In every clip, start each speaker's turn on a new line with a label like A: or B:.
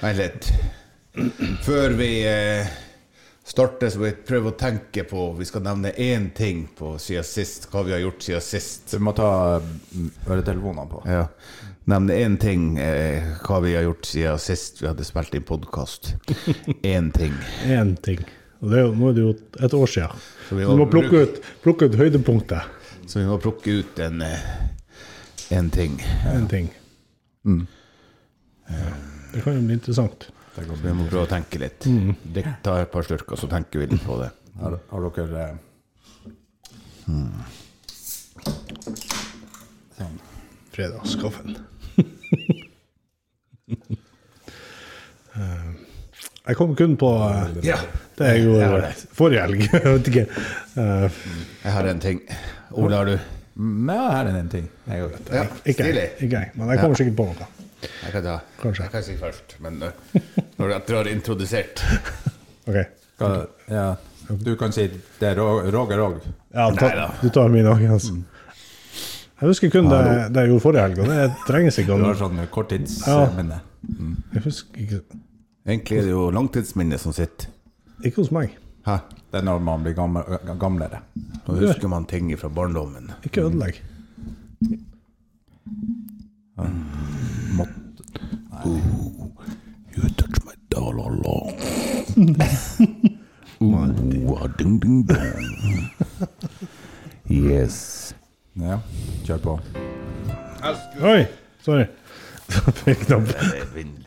A: Vent litt. Før vi eh, starter, så må vi prøve å tenke på Vi skal nevne én ting på siden sist, hva vi har gjort siden sist.
B: Så vi må ta mm, øretelefonene på.
A: Ja. Nevne én ting, eh, hva vi har gjort siden sist vi hadde spilt inn podkast. Én ting.
C: Én ting. Og det er jo, nå er det jo et år siden.
A: Så vi
C: Du må plukke ut, plukke ut høydepunktet.
A: Så vi må plukke ut en, eh, en ting.
C: Én ting. Eh, Det kan jo bli interessant.
A: Så vi må prøve å tenke litt. Dikk- Ta et par slurker, så tenker vi litt på det.
B: Har, har dere eh, sånn.
C: Fredagskaffen. Eh, jeg kom kun på eh, det jeg gjorde forrige helg. Jeg vet ikke. Eh,
A: Jeg har en ting. Ole, har du?
B: Men ja, her er en ting. Mm. Jeg òg.
A: Ja,
C: Ikke jeg,
A: stilig.
C: ikke jeg, men jeg kommer sikkert på noe.
A: Jeg kan ta
C: Kanskje.
A: Jeg kan si først, men eh, når jeg har introdusert
C: Ok.
B: Hva- Ja, du kan si det er Ro- Roger òg.
C: Ja, ta,
A: Neida.
C: du tar min òg, altså. Jeg husker kun det, det jeg gjorde forrige helg, og det trengs ikke. å-
B: Du har sånn korttidsminne.
C: Jeg husker ikke,
A: Egentlig er det jo langtidsminnet som sitter.
C: ikke hos meg.
A: Hæ?
B: Det er når man blir gammel, gamlere.
A: Nå husker man ting fra barndommen.
C: Ikke ødelegg.
B: Mått-
A: You touch my dollar long. Ooh, ah, ding, ding, dong. Yes.
B: Ja, kjør på.
C: Oi! Sorry. Fikk den opp.
A: Det er vindelig.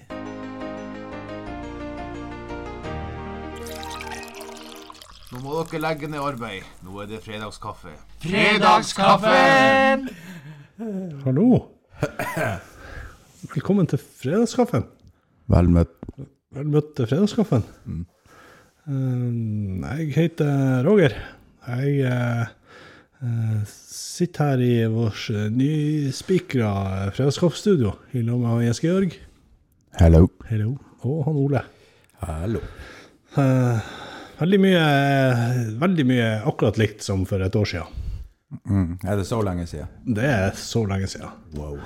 A: Nå må dere legge ned arbeid. Nå er det fredagskaffe.
D: Fredagskaffen!
C: Hallo. Velkommen til fredagskaffen.
A: Vel møtt.
C: Vel møtt til fredagskaffen. Eh, Jeg heter Roger. Jeg eh, eh, sitter her i vårt eh, nyspikra eh, fredagskaffestudio i lag med han Jens Georg
A: Hello.
C: Hello. og han Ole.
B: Hallo.
C: Eh, Veldig mye, veldig mye akkurat likt som for et år siden.
B: Mm, er det så lenge siden?
C: Det er så lenge siden.
B: Wow.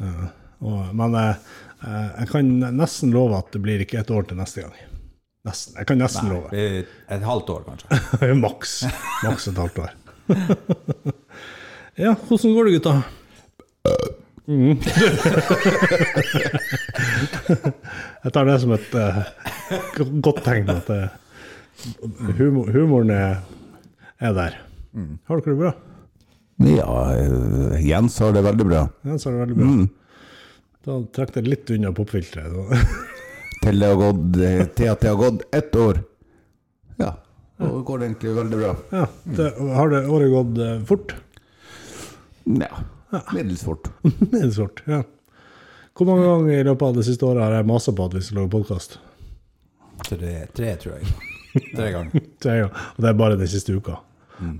C: Eh, og, men eh, eh, jeg kan nesten love at det blir ikke et år til neste gang. Nesten. Jeg kan nesten
B: Nei,
C: love.
B: vi- et halvt år, kanskje.
C: maks. Maks et halvt år. ja, hvordan går det, gutta? Mm. jeg tar det som et eh, go- godt tegn at eh, humor, humoren er, er der. Har dere det bra?
A: Ja, eh, Jens har det veldig bra.
C: Ja, så er det veldig bra. Da trakk jeg litt unna popfilteret. så-
A: Til, det har gått, eh, til at det har gått ett år. Ja, og går det egentlig veldig bra.
C: Ja, det, Har det året gått eh, fort?
A: Ja, middels fort.
C: Middels fort, ja. Hvor mange ganger i løpet av det siste året har jeg masa på at vi skal lage podkast?
B: Tre, tre, tror jeg. Tre ganger.
C: Det er jo, og det er bare den siste uka.
A: Ja.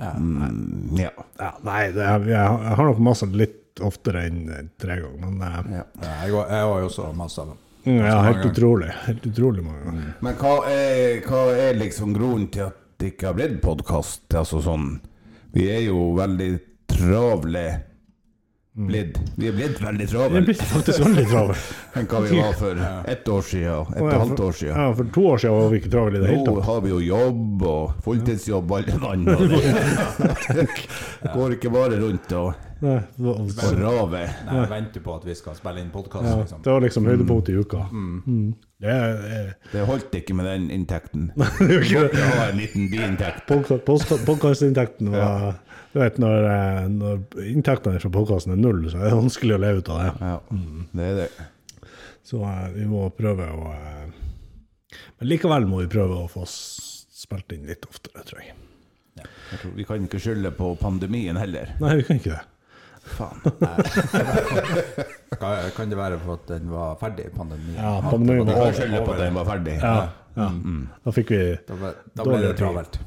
C: Ja, nei, det er, jeg, jeg har nok masa litt oftere enn eh, tre ganger, men eh, mm,
B: Ja, Jeg var- jeg var jo også masse av dem.
C: ja, helt
B: ganger.
C: utrolig. Helt utrolig mange ganger.
A: Men hva er, hva er liksom grunnen til at det ikke har blitt podkast? Altså sånn Vi er jo veldig travle
C: Mm.
A: blitt. Vi er blitt veldig
C: Det
A: travle
C: blir faktisk veldig travel.
A: enn hva vi var for ett år siden, et og et halvt år siden.
C: Ja, for to år siden var vi ikke travel i det hele
A: Nå
C: tatt.
A: har vi jo jobb og fulltidsjobb alle mann. og det- Det går ikke bare rundt og,
C: Nei, det var-
A: og rave.
B: Nei, jeg venter på at vi skal spille inn podkast,
C: ja,
B: liksom.
C: Det var liksom høydepunktet i uka. Mm. Det er, er
A: Det holdt ikke med den inntekten.
C: det er jo ikke det.
A: Jeg har en liten biinntekt.
C: Podkastinntekten var Du vet, når, eh, når inntektene fra podkasten er null, så er det vanskelig å leve ut av det.
A: Ja, det er det.
C: Så eh, vi må prøve å eh, Men likevel må vi prøve å få s- spilt inn litt oftere, tror jeg.
A: Jeg tror vi kan ikke skylde på pandemien heller.
C: Nei, vi kan ikke det.
A: Faen.
B: Kan, kan det være for at den var ferdig, pandemien?
C: Ja, pandemien
A: Vi
C: var
A: kan
C: over. Mm,
A: skylde på at den var ferdig.
C: Ja, ja. Da fikk vi
B: Da ble, da ble det travelt.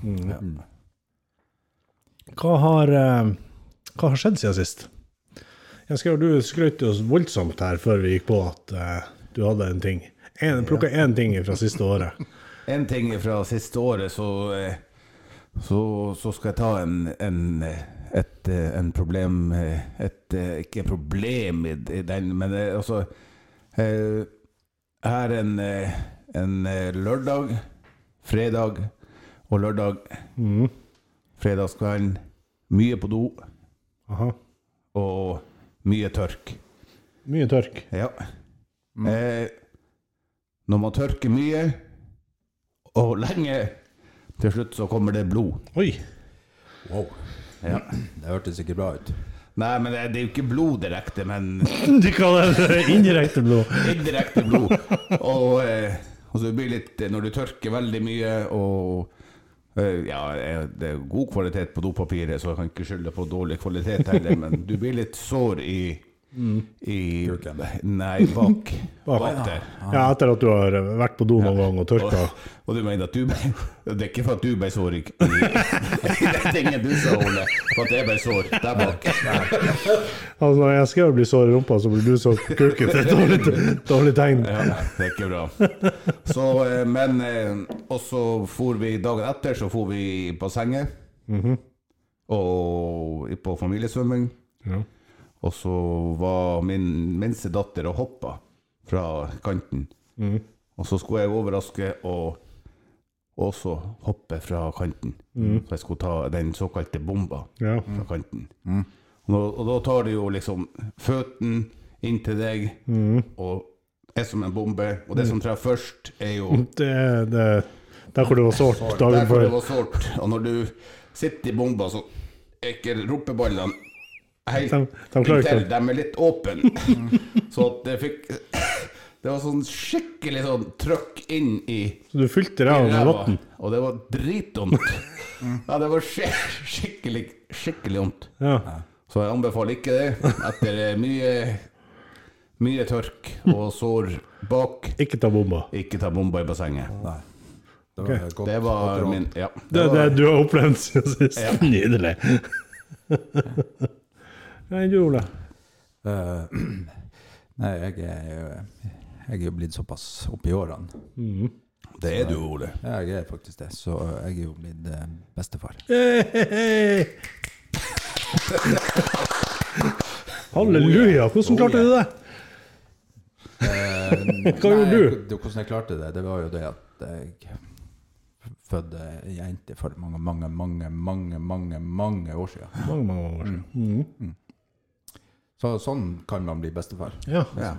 C: Hva har, eh, hva har skjedd siden sist? Jeg skal, du skrøt jo voldsomt her før vi gikk på at eh, du hadde en ting. En, plukka én ting fra siste året.
A: En ting fra siste året, så, eh, så, så skal jeg ta en, en, eh, et, eh, en problem eh, et, eh, Ikke problem i, i den, men eh, altså eh, Her en, eh, en eh, lørdag, fredag og lørdag.
C: Mhm.
A: Fredagskvelden. Mye på do
C: Aha.
A: og mye tørk.
C: Mye tørk.
A: Ja. Eh, når man tørker mye og lenge, til slutt så kommer det blod.
C: Oi.
B: Wow.
A: Ja.
B: Det hørtes ikke bra ut.
A: Nei, men det, det er jo ikke blod direkte, men
C: Du kaller det indirekte blod.
A: indirekte blod. Og, eh, og så blir det litt eh, Når du tørker veldig mye og eh, ja, eh, det er god kvalitet på dopapiret, så jeg kan ikke skylde på dårlig kvalitet heller, men du blir litt sår i I
B: Kuken.
A: Nei, bak.
C: Bak.
A: Bak der.
C: Ja, etter at du har vært på do noen gang og
A: Og,
C: tørka.
A: og du mener at du ble Det er ikke for at du ble sår i, i den tingen du sa, Ole, for at jeg ble sår der bak.
C: Altså, når jeg skal bli sår i rumpa, så blir du så kuket. Det er et dårlig, dårlig tegn.
A: Ja, det er ikke bra. Så, eh, men eh, Og så for vi dagen etter, så for vi i bassenget. Og i- på familiesvømming.
C: Ja.
A: Og så var min minste datter og hoppa fra kanten. Og så skulle jeg overraske og også hoppe fra kanten. Så jeg skulle ta den såkalte bomba
C: Ja.
A: fra kanten.
C: Mm.
A: Og, da, og da tar du jo liksom føtten inn til deg,
C: Mm.
A: og er som en bombe. Og det som treffer først, er jo
C: Det, det, der hvor det var sårt dagen
A: derfor det
C: før.
A: var sårt. Og når du sitter i bomba, så er ikke rumpeballene helt
C: De- de klarer ikke
A: inntil. De er litt åpne. Så at det fikk Det var sånn skikkelig sånn trøkk inn i
C: Så du fylte ræva med
A: ræva,
C: vann.
A: og det var dritvondt.
C: Mm.
A: Ja, det var skik- skikkelig, skikkelig vondt.
C: Ja.
A: Så jeg anbefaler ikke det. Etter eh, mye, mye tørk og sår bak,
C: Ikke ta bomba.
A: ikke ta bomba i bassenget.
B: Nei. Det var godt.
A: Det var
B: godt råd.
A: min Ja.
C: Det er det du har opplevd siden sist. Nydelig. Nei, du, Ole.
B: Eh, nei, jeg er, jo, jeg er jo blitt såpass opp i årene.
A: Det er du, Ole.
B: Ja, Jeg er faktisk det, så jeg er jo blitt eh, bestefar.
C: Hei, hei, hei. Halleluja! Hvordan klarte du det?
B: Hva
C: gjorde du?
B: Hvordan jeg klarte Eh, det, det var jo det at jeg fødte ei jente for mange, mange, mange, mange, mange, mange år siden.
C: Mange, mange år siden. Mhm.
B: Så sånn kan man bli bestefar.
C: Ja.
B: Ja.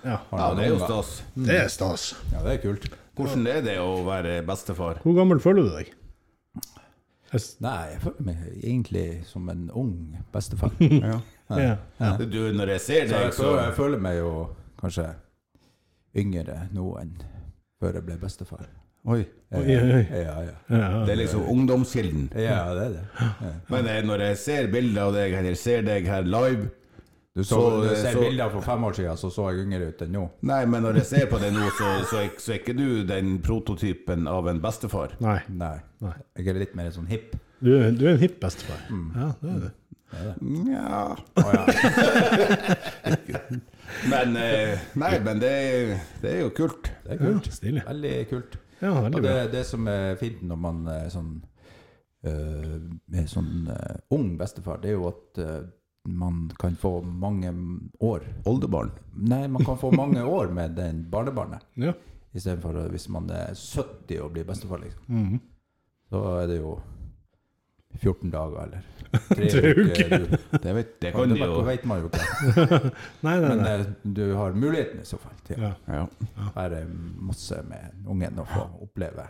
C: ja.
A: Ja, det er jo stas.
C: Det er stas.
B: Ja, det er kult.
A: Hvordan er det å være bestefar?
C: Hvor gammel føler du deg? Jeg s-
B: Nei, jeg føler meg egentlig som en ung bestefar.
C: Ja.
A: Du, når jeg ser
B: Så
A: deg,
B: jeg,
A: så
B: føler, jeg føler meg jo kanskje yngre nå enn før jeg ble bestefar.
A: Oi.
C: Oi, oi, oi.
B: Ja, ja.
C: Ja.
A: Det er liksom ungdomskilden.
B: ja det er det. Ja.
A: Men eh, når jeg ser bilder av deg, eller ser deg her live
B: Du, så,
A: Så,
B: du ser
A: så-
B: bilder for fem år siden, så så jeg yngre ut enn nå.
A: Nei, men når jeg ser på deg nå, så, så, er, så er ikke du den prototypen av en bestefar.
C: Nei.
B: Nei. Jeg er litt mer sånn hipp.
C: Du, er- du er en hipp bestefar. Ja, det er det.
A: Nja
B: Å ja.
A: Men eh, Nei, men det, er- det er jo kult.
B: Det er
C: Ja,
B: kult.
C: stilig.
B: Veldig kult.
C: Ja, veldig
B: Og det,
C: bra.
B: det som er fint når man er sånn, eh, er sånn eh, ung bestefar, det er jo at eh, man kan få mange år
A: Oldebarn.
B: Nei, man kan få mange år med den barnebarnet.
C: Ja.
B: Istedenfor hvis man er 70 og blir bestefar, liksom.
C: Mm.
B: Da er det jo 14 dager eller tre, uker. Du,
A: Det vet, det
B: og
A: kan
B: det
A: de jo.
B: vet man jo ikke.
C: Nei, nei,
B: Men
C: nei.
B: eh, du har muligheten i så fall til
C: Ja.
B: å
A: Ja,
B: være masse med ungen og få oppleve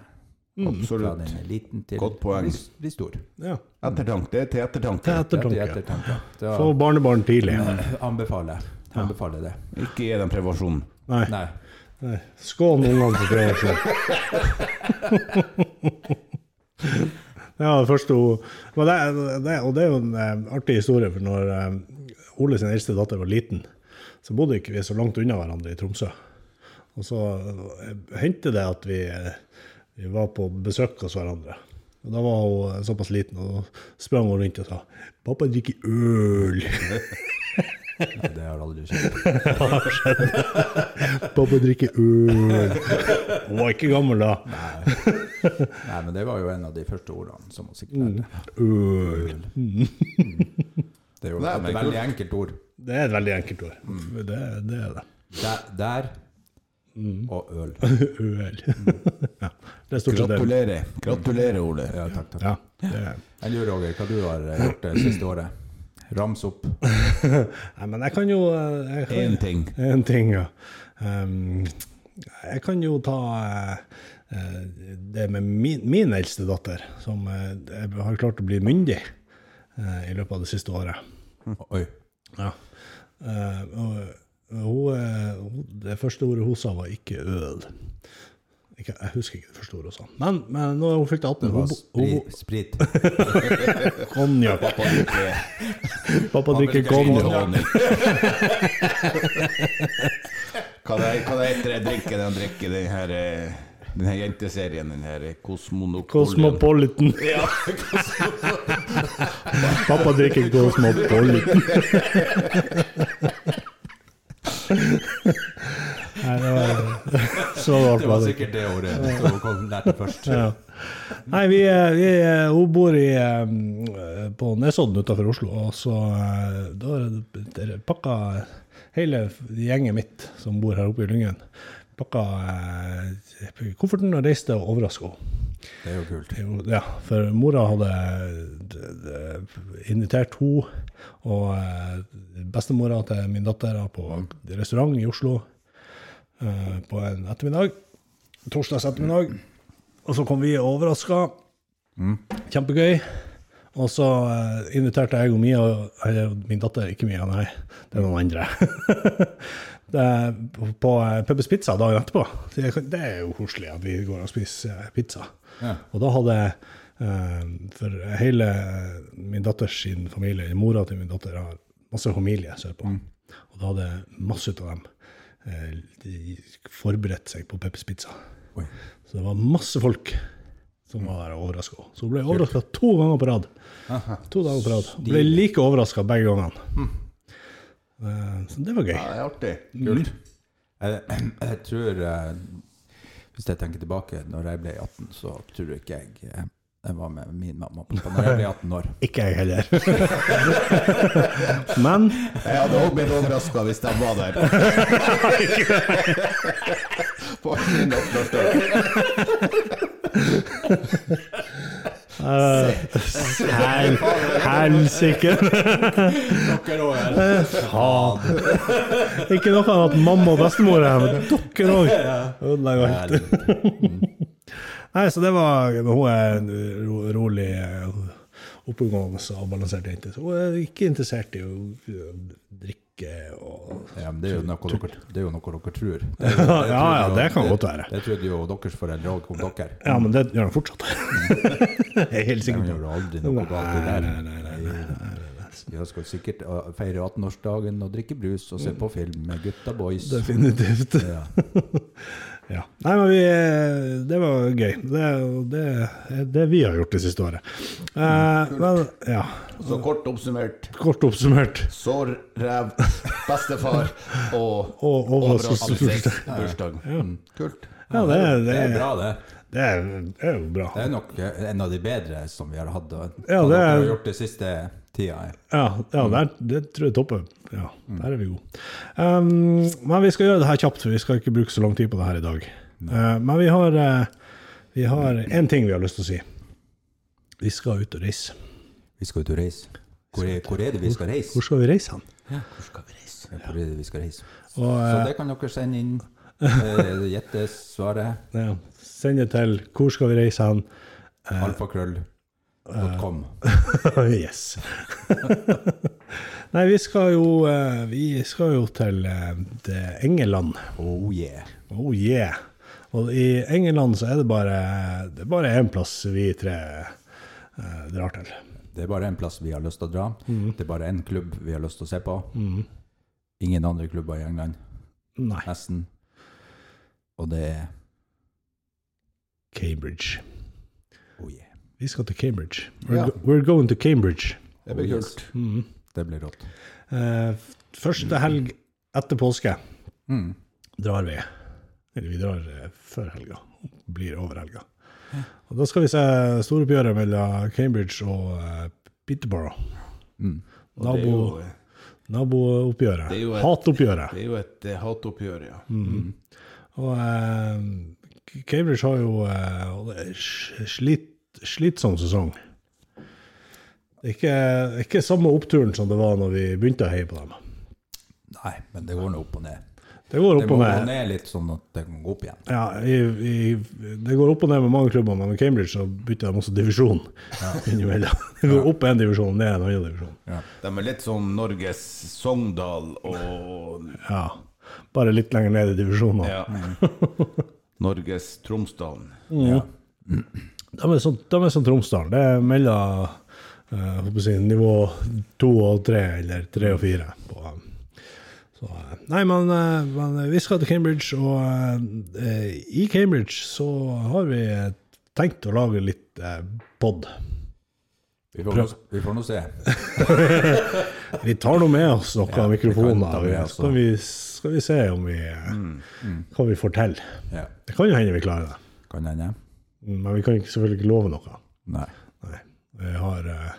B: fra
A: absolutt.
B: den er liten til
A: Mm, Godt poeng.
B: blir, blir stor.
C: Ja.
A: Ettertanke. Det er til ettertanke.
C: Til
B: Etter
C: ettertanke.
B: ettertanke. Da
C: Få barnebarn tidlig.
B: anbefaler jeg anbefaler det.
A: Ikke gi dem prevensjon.
C: Nei.
B: Nei.
C: nei. Skål ungene for tre år siden. Ja, det første hun men det, det, Og det er jo en eh, artig historie, for når eh, Ole sin eldste datter var liten, så bodde ikke vi så langt unna hverandre i Tromsø. Og så eh, hendte det at vi, eh, vi var på besøk hos hverandre. Og da var hun eh, såpass liten, og da sprang hun rundt og sa 'Pappa drikker øl'.
B: Nei, Det har aldri skjedd.
C: Pappa drikker øl. Hun var ikke gammel da.
B: Nei, men det var jo en av de første ordene som hun sikkert lærte.
C: Øl.
B: Det er jo
A: Det er
B: et
A: kult.
B: veldig enkelt ord.
C: Det er et veldig enkelt ord. Det, det er det.
B: Der, der og øl.
C: Øl. ja, det er stort sett det.
A: Gratulerer. Gratulerer, Ole.
B: Ja, takk, takk.
C: Ja, det er.
B: Jeg lurer, Roger, hva du har eh, gjort det siste året? Rams opp.
C: Nei, men jeg kan jo eh, jeg kan,
A: Én ting.
C: En ting, ja. Ehm, jeg kan jo ta eh, eh, det med min, min eldste datter, som eh, jeg har klart å bli myndig eh, i løpet av det siste året.
B: Oi.
C: Ja. Eh, og hun, eh, hun, det første ordet hun sa, var ikke øl. Ikke, jeg husker ikke det første ordet hun sa. Men, men når hun fylte 18
B: Det
C: hun,
B: var
C: bo- hun,
B: spri, sprit.
C: bo- Konjakk.
A: Pappa drikker
C: Pappa drikker
A: pappa drikker
C: konjakk.
A: honning. Hva det hva det heter jeg drikker den drikker, den her, eh, den her jenteserien, den her eh, Kosmonopolien.
C: Cosmopolitan.
A: Ja,
C: Pappa drikker Cosmopolitan. Nei, det var så rart var det.
B: Det var
C: ikke.
B: sikkert det ordet som hun kom- lærte først.
C: Ja. Nei, vi, eh, vi, eh, hun bor i, eh, på Nesodden utenfor Oslo, og så eh, da er det- det er pakka hele gjengen mitt som bor her oppe i Lyngen, pakka eh, kofferten og reiste og overraska henne.
B: Det er jo kult.
C: Det er jo- Ja, for mora hadde d- d- invitert henne og eh, bestemora til min datter på restaurant i Oslo eh, på en ettermiddag. Torsdags ettermiddag. Og så kom vi overraska. Kjempegøy. Og så eh, inviterte jeg og Mia eller Min datter, ikke Mia, nei. Det er noen andre. det, er på eh, Peppers Pizza dagen etterpå. Så jeg kan- Det er jo koselig at vi går og spiser eh, pizza.
B: Ja.
C: Og da hadde jeg eh, For hele min datters sin familie, mora til min datter, har masse familie sørpå. Og da hadde masse av dem eh, de forberedt seg på Peppers Pizza.
B: Oi.
C: Så det var masse folk som var der og overraska henne. Så hun ble overraska to ganger på rad. To dager på rad. Hun ble like overraska begge gangene. Eh, Så det var gøy.
A: det er artig.
B: Kult. Jeg, jeg tror eh, Hvis jeg tenker tilbake, når jeg ble 18, så tror jeg ikke jeg eh, Jeg var med min mamma og pappa når jeg ble 18 år.
C: Ikke jeg heller. Men
A: Jeg hadde også blitt overraska hvis de var der. På min åttårsdag.
C: eh, hel- Helsike!
B: Dere òg. Faen.
C: Ikke noe av at mamma og bestemor er her, men dere òg ødelegger alt.
B: Helvete.
C: Nei, så det var men Hun er en ro, rolig, eh, oppegående og avbalansert jente. Så Hun er ikke interessert i å eh, drikke og
B: Ja, men det er jo noe dere, det er jo noe dere tror.
C: Ja, ja, det kan godt være.
B: Det trodde jo deres foreldre òg om dere.
C: Ja, men det gjør han fortsatt.
B: Mm.
C: Jeg er helt
B: De
C: sikker på
B: gjorde aldri
C: Nei,
B: noe galt i
C: nei,
B: det der.
C: nei, nei, nei, nei.
B: Jeg skal sikkert eh, feire 18-årsdagen og drikke brus og se
C: Mm.
B: på film med gutta boys.
C: Definitivt.
B: Ja.
C: Ja. Nei, men vi, eh, det var gøy. Det er jo det, er det vi har gjort det siste året. Eh,
B: Mm.
C: men ja,
A: Så kort oppsummert.
C: kort oppsummert.
A: Sår, ræv, bestefar og
C: Og overraskelse.
A: overraskelsesbursdag. Mm. Kult.
C: Ja, det, er-
B: Det
C: det,
B: er
C: er-
B: bra, det.
C: det, er, det er jo bra.
B: Det er nok eh, en av de bedre som vi har hatt. Og,
C: Ja,
B: og
C: det
B: dere
C: er-
B: har gjort det siste tida. jeg.
C: Ja, ja der, det tror jeg topper. Ja, der er vi gode. Um, men vi skal gjøre det her kjapt, for vi skal ikke bruke så lang tid på det her i dag. Uh, men vi har uh, Vi har én ting vi har lyst til å si. Vi skal ut og reise.
B: Vi skal ut og reise. Hvor er, hvor er det vi skal reise?
C: Hvor skal vi reise hen?
B: Ja, Hvor er det vi skal reise?
C: Og, eh,
B: Så det kan dere sende inn. eh, Gjette svaret.
C: Ja, send det til 'Hvor skal vi reise hen?'
B: Eh, Alfakrøll.com.
C: yes. Nei, vi skal jo uh, Vi skal jo til uh, det Engeland.
B: Oh yeah.
C: Oh yeah. Og i England så er det bare Det er bare én plass vi tre eh, drar til.
B: Det er bare én plass vi har lyst til å dra.
C: Mm.
B: Det er bare én klubb vi har lyst til å se på. Ingen andre klubber i England.
C: Nei.
B: Nesten. Og det er
C: Cambridge.
B: oh yeah.
C: Vi skal til Cambridge. We're,
A: Ja.
C: go we're going to Cambridge.
A: Det blir kult.
C: Mhm.
B: Oh, Det blir rått.
C: Eh, første helg etter påske
B: Mm.
C: drar vi. Eller vi drar eh, før helga. Blir over helga. Og da skal vi se storoppgjøret mellom Cambridge og eh, Peterborough.
B: Mm.
A: Og det er jo-
C: Nabo- Nabooppgjøret.
A: Det er jo et-
C: Hatoppgjøret.
A: Det er jo et eh, hatoppgjør, ja.
C: Og eh, Cambridge har jo eh, og det er sl- slit, slitsom sesong. Det er ikke, ikke samme oppturen som det var når vi begynte å heie på dem.
B: Nei, men det går nå opp og ned.
C: Det går
B: Det
C: opp
B: må
C: og ned.
B: gå ned litt, sånn at det kan gå opp igjen.
C: Ja, i, i, det går opp og ned med mange klubber, men med Cambridge så bytter de også divisjon. innimellom. Det går opp en divisjon, ned en annen divisjon.
A: De er litt sånn Norges Sogndal og
C: Ja. Bare litt lenger ned i divisjonene.
A: ja. Mm. Norges Tromsdalen.
C: Mm.
B: Ja.
C: De er som, de er som Tromsdalen. Det er mellom eh, jeg håper å si, nivå to og tre, eller tre og fire. På, eh, så, eh, nei, men, eh, men vi skal til Cambridge, og eh, i Cambridge så har vi eh, tenkt å lage litt eh, pod.
B: Vi får, nå- vi får nå se.
C: Vi tar nå med oss noen
B: Ja, vi kan ta
C: mikrofoner,
B: med oss, Mm,
C: så kan vi, skal vi se om vi, eh, hva vi får til.
B: Ja.
C: Det kan jo hende vi klarer det,
B: Kan hende.
C: men vi kan ikke- selvfølgelig ikke love noe.
B: Nei.
C: Nei. Jeg har eh,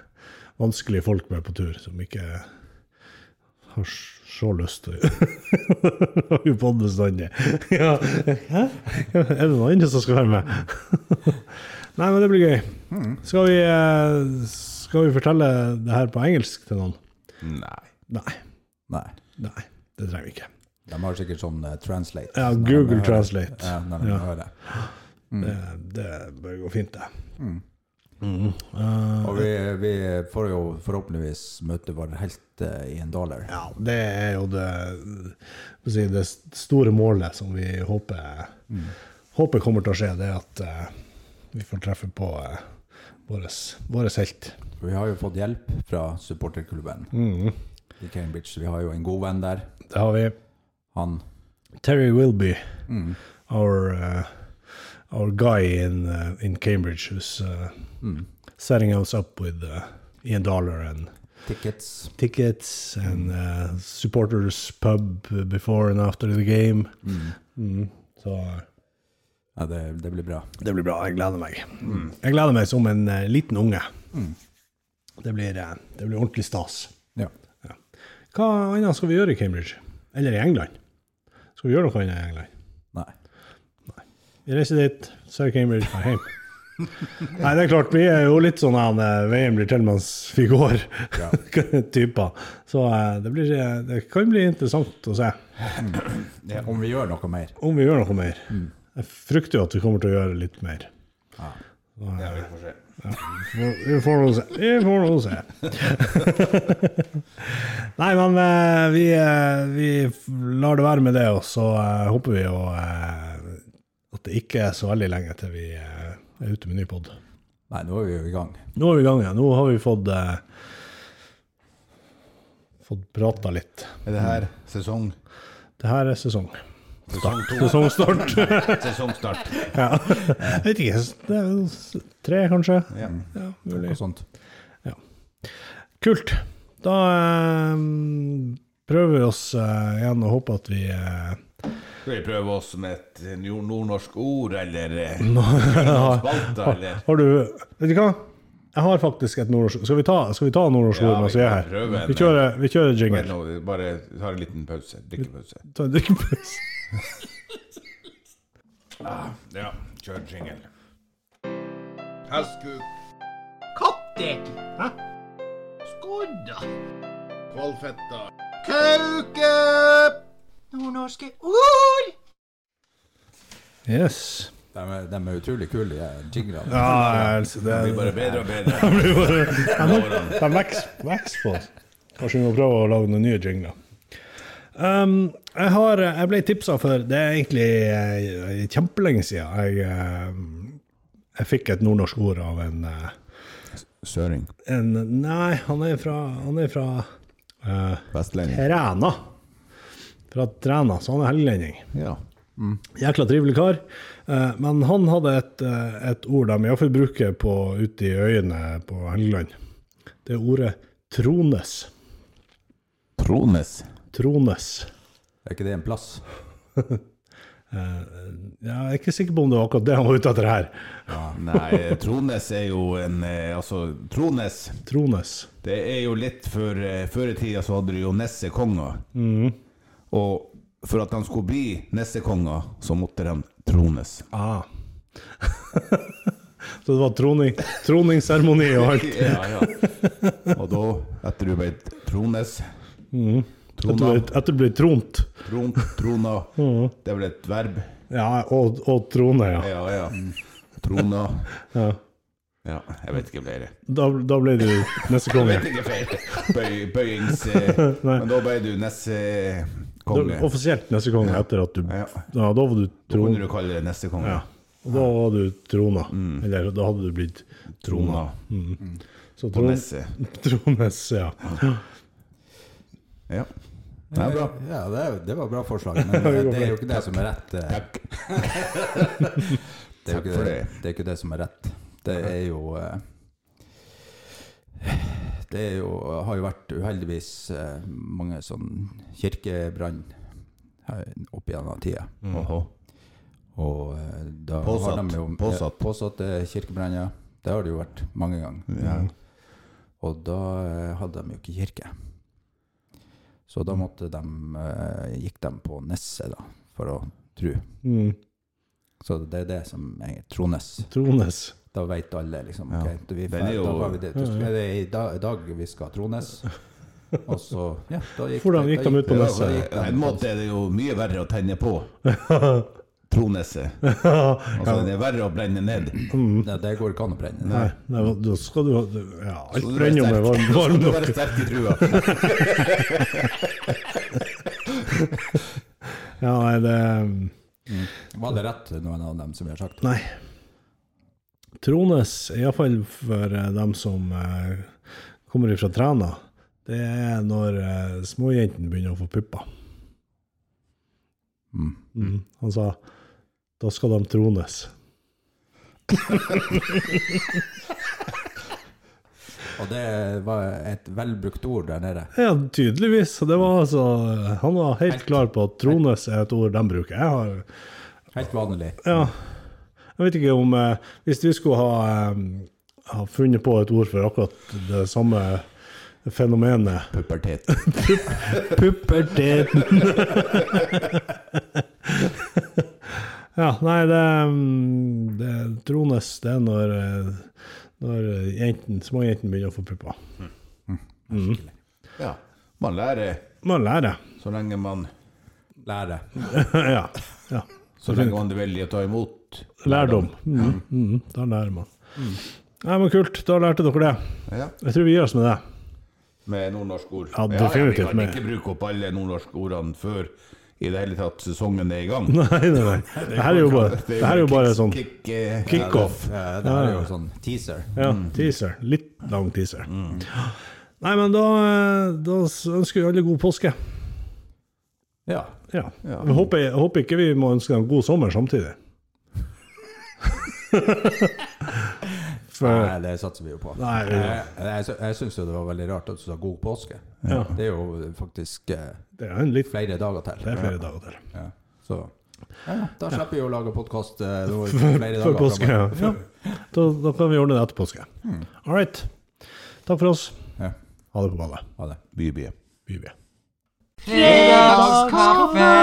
C: vanskelige folk med på tur som ikke har s- så lyst til å lage podd bestandig. ja. Hæ? Er det noen andre som skal være med? Nei, men det blir gøy. Skal vi, eh, skal vi fortelle det her på engelsk til noen?
A: Nei.
C: Nei.
B: Nei.
C: Nei, det trenger vi ikke.
B: De har sikkert sånn eh, translate.
C: Ja,
B: når de
C: Google
B: hører-
C: Translate.
B: eh, Ja, når de
C: Ja.
B: hører.
C: Det, det bør gå fint, det. Mm. Eh,
B: Og vi, vi får jo forhåpentligvis møte vår helt eh, i en dollar.
C: Ja, det er jo det, hva skal jeg si, det store målet som vi håper, håper kommer til å skje, det er at eh, vi får treffe på uh, vår helt.
B: Vi har jo fått hjelp fra supporterklubben i Cambridge. Vi har jo en god venn der.
C: Det har vi.
B: Han
C: Terry Wilby, our, uh, our guy in, uh, in Cambridge, who's uh, setting us up with uh, Ian Dollar and
B: tickets.
C: tickets and uh, supporters pub before and after the game. Mm. Så...
B: Ja, det, det blir bra.
C: Det blir bra. Jeg gleder meg.
A: Mm.
C: Jeg gleder meg som en eh, liten unge. Det, blir, eh, det blir ordentlig stas.
B: Ja.
C: Hva annet skal vi gjøre i Cambridge? Eller i England? Skal vi gjøre noe annet i England?
B: Nei.
C: Vi reiser dit, ser Cambridge, drar hjem. Nei, det er klart, vi er jo litt sånn han eh, VM blir til mens vi går.
B: Ja.
C: Typer. Så eh, det, blir, eh, det kan bli interessant å se
B: Om vi gjør noe mer.
C: om vi gjør noe mer. Jeg frykter jo at vi kommer til å gjøre litt mer.
A: Mm.
C: eh,
A: Ja, vi får se.
C: Vi får nå se. Vi får nå se. Nei, men eh, vi, eh, vi lar det være med det, og så eh, håper vi jo eh, at det ikke er så veldig lenge til vi eh, er ute med ny pod.
B: Nei, nå er vi jo i gang.
C: Nå er vi i gang igjen. Nå har vi fått eh, fått prata litt.
A: Er det her sesong?
C: Det her er sesong.
A: Sesong to?
C: Sesongstart.
A: Sesongstart.
C: ja. Jeg vet ikke. Det er jo tre, kanskje?
A: Ja.
C: Ja, mulig.
B: Noe sånt.
C: Kult. Da eh, prøver vi oss eh, igjen og håper at vi eh,
A: Skal vi prøve oss med et nord- nordnorsk ord, eller eh,
C: har,
A: spalte, eller?
C: har du Vet du hva? Jeg har faktisk et nordnorsk Skal vi ta, skal vi ta nordnorsk
A: Ja,
C: ord mens
A: vi
C: vi er
A: kan
C: her?
A: prøve en, eh,
C: Vi kjører, vi kjører
A: Vent
C: jingle.
A: nå, vi Bare tar en liten pause. Drikkepause.
C: Ta en drikkepause.
A: Ja, kjør jingle. Hestkuk.
D: Kattek.
C: Hæ?
D: Skodda.
A: Kvalfetta. Kauke!
D: Nordnorske ord.
C: Yes.
B: De, er- de er utrolig kule, de her jinglene.
C: Ja, altså, det,
A: Det blir bare bedre og bedre.
C: det er veks- veks på oss. Kanskje vi må prøve å lage noen nye jingler. Um, jeg, har, jeg ble tipsa for Det er egentlig eh, kjempelenge siden jeg, eh, jeg fikk et nordnorsk ord av en eh,
A: Søring.
C: en, Nei, han er fra, han er fra eh,
A: Vestlending.
C: Træna. Fra Træna, så han er helgelending.
A: Ja.
C: Jækla trivelig kar. Eh, men han hadde et, eh, et ord de iallfall bruker på, ute i øyene på Helgeland. Det er ordet trones.
A: Trones.
C: Trones.
B: Er ikke det en plass?
C: Eh, ja, jeg er ikke sikker på om det var akkurat det han var ute etter her.
A: Nei, Trones er jo en eh, Altså, Trones
C: Trones.
A: Det er jo litt før eh, Før i tida så hadde du jo Nessekonger.
D: Mm.
A: Og for at han skulle bli Nessekonger, så måtte de trones.
C: Ah. Så det var troning, troningsseremoni og alt.
A: Ja, ja. Og da, etter du ble trones
C: Etter
A: Trona,
C: ble, etter ble tront.
A: tron, trona
C: Mm.
A: Det er vel et verb?
C: Ja, og, og trone, ja.
A: Ja, ja. Trona
C: ja.
A: Ja, jeg vet ikke flere.
C: Da, da ble du neste
A: Jeg
C: konge.
A: vet ikke flere. Bøy, bøyings... eh,
C: Nei.
A: Men da ble du
C: Da,
A: nessekonge.
C: offisielt neste konge etter at du
A: Ja.
C: Ja, da var du
A: Da kunne
C: tron... Mm.
A: du kalle deg nessekonge.
C: Ja. Og da var du trona. Eller da hadde du blitt
A: Trona
C: Så
A: og
C: tron,
A: nesse.
C: Trones, ja.
A: Ja. Det er bra.
B: Ja, det, er- det var bra forslag, men eh, det er jo ikke det som er rett. eh.
A: Takk.
B: Det er jo
A: Takk for
B: ikke det,
A: det.
B: det, er ikke det som er rett. Det er jo eh, Det er jo, har jo vært uheldigvis eh, mange sånn kirkebrann her opp gjennom tida.
A: Åhå.
B: Og eh, da har
A: Påsatt.
B: de jo eh,
A: Påsatt.
B: Ja, påsatte kirkebranner. Det har det jo vært mange ganger. Og da eh, hadde de jo ikke kirke. Så
A: Mm.
B: da måtte de, eh, gikk de på Nesset, da, for å tru.
C: Mm.
B: Så det er det som er Trones.
C: Trones.
B: Da veit alle liksom
A: Ja.
B: ok, vi,
A: Den er jo-
B: Da har vi det. Du, skal- det er i dag, i dag vi skal Trones. Og så ja, da gikk
C: Hvordan
B: det-
C: gikk
B: da
C: de ut på
B: det-
C: Nesset?
B: da gikk
A: På
B: de
A: en
B: på
A: måte er det jo mye verre å tenne på. Tronesse. Altså, det er verre å brenne ned.
B: Nesset. Nei, det går ikke an å brenne.
C: Nei, nei, hva- da skal du ha- Ja, alt
A: Så du
C: brenner jo med varm, varm
A: Du
C: nok.
A: være sterk i trua.
C: Ja, nei, det
B: Mm. Var det rett, noen av dem som vi har sagt?
C: Nei. Trones, iallfall for eh, dem som eh, kommer ifra Træna, det er når eh, småjentene begynner å få pupper.
B: Mm.
C: Mm. Han sa da skal de trones.
B: Og det var et velbrukt ord der nede.
C: Ja, tydeligvis. Så Det var altså, han var helt klar på at trones er et ord de bruker. Jeg har
B: Helt vanlig.
C: Ja. Jeg vet ikke om eh, Hvis vi skulle ha, eh, ha funnet på et ord for akkurat det samme fenomenet
A: Pubertet.
C: Puberteten! ja, nei, det, mm, det Trones, det er når, eh, når jenten, småjentene begynner å få pupper.
A: Ja. Man lærer
C: Man lærer.
A: så lenge man
B: Lære.
C: ja. ja.
A: Så lenge man er villig til å ta imot.
C: Lærdom. Mm, mm, da lærer man. Nei, men Kult, da lærte dere det.
A: Ja.
C: Jeg tror vi gir oss med det.
A: Med nordnorske ord.
C: Ja, definitivt
A: vi kan
C: med-
A: ikke bruke opp alle nordnorske ordene før i det hele tatt sesongen er i gang.
C: Nei, nei, nei. Det her er jo bare, det her er jo bare sånn
A: Kick, kick, eh,
C: kickoff.
B: Ja, det her er jo sånn teaser.
C: Ja, teaser. Litt lang teaser. Nei, men da, eh, da s- ønsker vi alle god påske.
B: Ja.
C: Ja. Jeg håper, jeg håper ikke vi må ønske dem god sommer samtidig. For,
B: Nei, det satser vi jo på.
C: Nei, vi-
B: jeg jeg, sy- jeg syns jo det var veldig rart at du sa 'god påske'.
C: Ja.
B: Det er jo faktisk eh,
C: det er en litt
B: flere dager til.
C: det er flere dager til.
B: Ja. Så ja, da slipper vi å lage eh, podkast flere
C: Før
B: dager
C: påske,
B: fremover.
C: ja. ja. Mm. Da, da kan vi ordne det etter påske. All right. Takk for oss.
B: Ja.
C: Ha det på ballet.
B: Ha det.
A: Bybie.
C: Bye, bye.
D: Fredagskaffe!